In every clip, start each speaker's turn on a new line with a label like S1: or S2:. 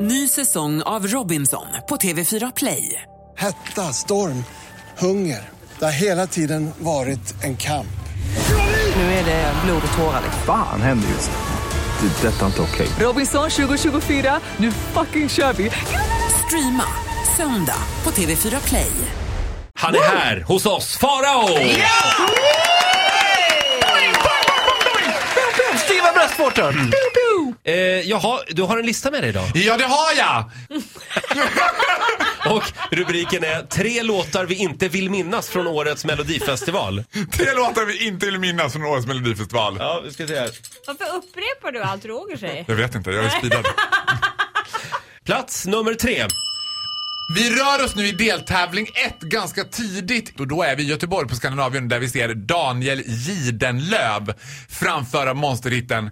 S1: Ny säsong av Robinson på TV4 Play.
S2: Hetta, storm, hunger. Det har hela tiden varit en kamp.
S1: Nu är det blod och tårar.
S3: Fan händer just nu. Det. är Detta är inte okej.
S1: Robinson 2024, nu fucking kör vi! Streama söndag på TV4 Play.
S4: Han är här hos oss, Farao!
S5: Skriva bröstvårtor!
S4: Eh, jaha, du har en lista med dig idag.
S5: Ja, det har jag!
S4: Och rubriken är Tre låtar vi inte vill minnas från årets melodifestival.
S5: Tre låtar vi inte vill minnas från årets melodifestival.
S4: Ja, vi ska se här.
S6: Varför upprepar du allt Roger säger?
S5: Jag vet inte, jag är speedad.
S4: Plats nummer tre.
S5: Vi rör oss nu i deltävling 1 ganska tidigt och då är vi i Göteborg på Skandinavien där vi ser Daniel Gidenlöv framföra monsterhitten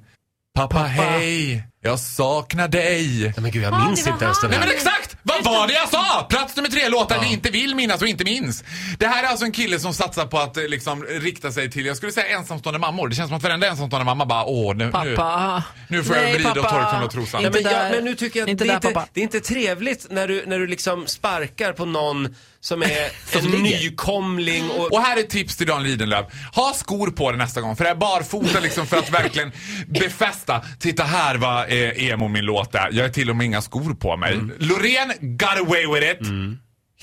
S5: Pappa hej, jag saknar dig.
S4: Nej men gud, jag
S6: Ja,
S4: minns
S6: det var
S4: inte ens den
S5: Nej
S4: här.
S5: men exakt! Vad var det jag sa? Plats nummer tre, låtar vi inte vill minnas och inte minns. Det här är alltså en kille som satsar på att eh, liksom rikta sig till, jag skulle säga ensamstående mammor. Det känns som att varenda ensamstående mamma bara åh nu,
S7: Pappa.
S5: nu, nu får jag
S7: Nej,
S5: vrida och
S7: pappa.
S5: torka mig och trosan.
S4: Nej, men,
S7: Inte
S4: jag,
S7: där.
S4: men nu tycker jag att
S7: Inte
S4: det, är
S7: där,
S4: inte,
S7: pappa.
S4: det är inte trevligt när du, när du liksom sparkar på någon som är en nykomling och...
S5: Och här är ett tips till Dan Lidenlöf. Ha skor på dig nästa gång, för det är barfota liksom för att verkligen befästa. Titta här vad eh, emo min låt är. Jag har till och med inga skor på mig.
S7: Mm.
S5: Loreen got away with it.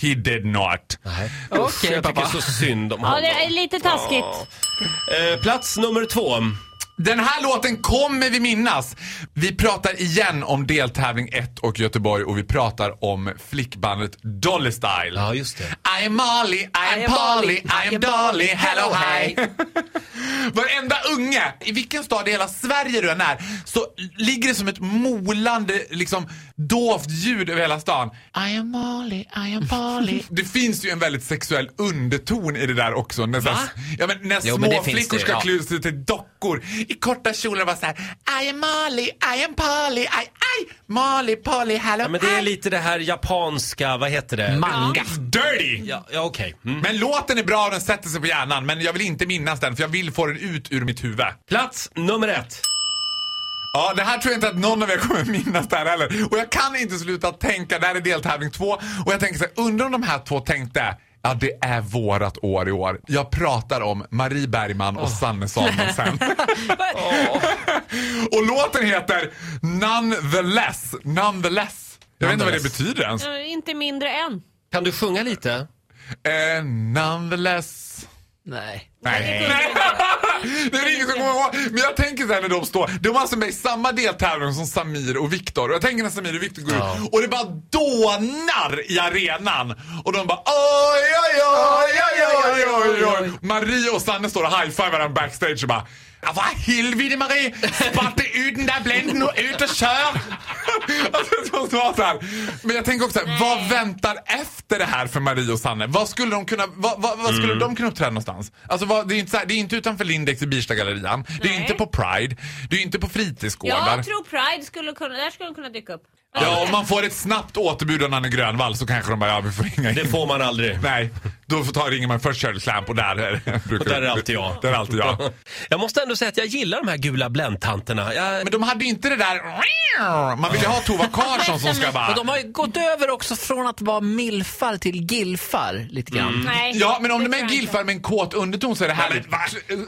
S5: He did not.
S4: Usch, jag tycker
S7: pappa.
S4: så synd om
S6: Ja,
S4: honom.
S6: det är lite taskigt.
S4: Eh, plats nummer två.
S5: Den här låten kommer vi minnas. Vi pratar igen om deltävling 1 och Göteborg och vi pratar om flickbandet Dolly Style.
S4: Ja, just det.
S5: I'm Molly, I'm Polly, I'm Dolly, hello hi. Varenda unge, i vilken stad i hela Sverige du än är, så ligger det som ett molande, liksom dovt ljud över hela stan. I am Molly, I am Polly. Det finns ju en väldigt sexuell underton i det där också. När, så här, ja, men när
S8: Jo,
S5: små
S8: men det finns
S5: flickor
S8: det,
S5: ska
S8: ja.
S5: klä sig till dockor i korta kjolar och bara så här. I am Molly, I am Polly, I, I, Molly, Polly, hello
S4: Ja, men det är
S5: hi."
S4: lite det här japanska, vad heter det?
S5: Manga. Dirty!
S4: Ja, ja okej. Mm.
S5: Men låten är bra och den sätter sig på hjärnan men jag vill inte minnas den för jag vill få den ut ur mitt huvud.
S4: Plats nummer ett.
S5: Ja, det här tror jag inte att någon av er kommer minnas det här heller. Och jag kan inte sluta tänka, det här är deltävling två och jag tänker så här, undrar om de här två tänkte Ja, det är vårat år i år. Jag pratar om Marie Bergman och Sanne Samuelsson. och låten heter Nonetheless. Nonetheless. Jag vet inte vad det
S4: Nonetheless.
S5: betyder ens.
S6: Eh, Inte mindre än.
S4: Kan du sjunga lite?
S5: Eh, nonetheless.
S7: Nej.
S5: Nej. Det är ingen som kommer ihåg. Men jag tänker såhär när de står. De var alltså med i samma deltävling som Samir och Viktor. Och jag tänker när Samir och Viktor går ut och det bara dånar i arenan. Och de bara oj, oj, oj, oj, oj, oj, oj. Marie och Sanne står och high-fivar varandra backstage och bara "Ja, vad helvete Marie! Sparta ut den där bländen och ut och kör! Alltså, det måste vara så här. Men jag tänker också här, vad väntar efter det här för Marie och Sanne? Vad skulle de kunna, vad, vad, vad
S4: Mm.
S5: skulle de kunna uppträda någonstans? Alltså, vad, det, är inte så här, det är inte utanför Lindex i Birstagallerian. Det är
S6: Nej.
S5: inte på Pride. Det är inte på fritidsgårdar.
S6: Jag tror Pride skulle kunna, där skulle de kunna dyka upp.
S5: Ja, om man får ett snabbt återbud av Nanne Grönvall så kanske de bara, ja vi får ringa in.
S4: Det får man aldrig.
S5: Nej, då får ta, ringer man först Shirley Clamp och där är,
S4: Och där är alltid jag.
S5: Där är alltid jag.
S4: Jag måste ändå säga att jag gillar de här gula bländtanterna. Jag...
S5: Men de hade ju inte det där... Man vill ju ha Tova Karlsson som ska bara...
S7: Och de har ju gått över också från att vara milfar till gilfar lite grann.
S6: Nej.
S5: Ja, men om
S6: det
S5: de är
S6: tror
S5: en
S6: jag
S5: gilfar med en kåt underton så är det härligt. Va?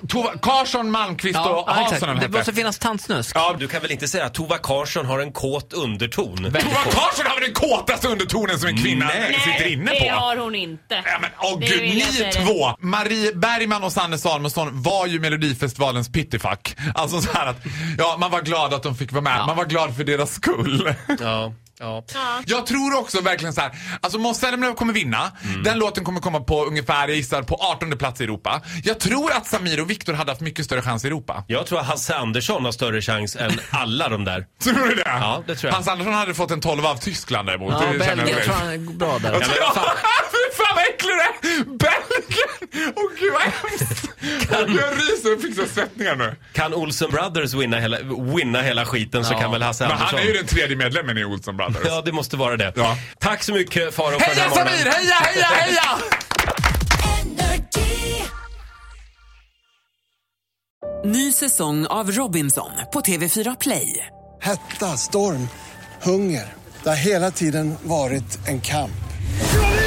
S5: Tova Karlsson, Malmqvist
S7: Ja,
S5: och
S7: ja,
S5: Hansson eller
S7: exakt.
S5: vad
S7: Det
S5: de hette.
S7: måste finnas tantsnusk.
S4: Ja, du kan väl inte säga att Tova Karlsson har en kåt underton?
S5: Tova Karlsson har väl den kåtaste undertonen som en kvinna
S4: Nej.
S5: sitter inne
S6: Nej,
S5: på?
S6: det har hon inte.
S5: Ja, men, åh
S6: Det
S5: gud,
S6: vill jag
S5: ni
S6: säga.
S5: två! Marie Bergman och Sanne Salmonsson var ju Melodifestivalens pittifack. Alltså så här att, ja, man var glad att de fick vara med. Man var glad för deras skull.
S4: Ja, ja.
S5: Jag tror också verkligen så här, alltså Måns Zelmerlöw kommer vinna. Den låten kommer komma på ungefär, jag gissar, på 18 plats i Europa. Jag tror att Samir och Viktor hade haft mycket större chans i Europa.
S4: Jag tror att Hasse Andersson har större chans än alla de där.
S5: Tror du det?
S4: Ja, det tror jag.
S5: Hans Andersson hade fått en 12 av Tyskland däremot.
S7: Ja,
S5: det känner jag
S7: Belgien
S5: direkt.
S7: tror jag är bra där.
S5: Ja, men fan. Fy fan vad äcklig du är! Belgien! Åh gud vad hemskt! Jag ryser och fick så svettningar nu.
S4: Kan Olsen Brothers winna hela, winna hela skiten så kan väl Hasse
S5: Men
S4: Andersson...
S5: han är ju den tredje medlemmen i Olsen Brothers.
S4: Ja, det måste vara det.
S5: Ja.
S4: Tack så mycket Farao för den
S5: Heja
S4: här morgonen.
S5: Samir! Heja, heja, heja!
S1: Ny säsong av Robinson på TV4 Play.
S2: Hetta, storm, hunger. Det har hela tiden varit en kamp.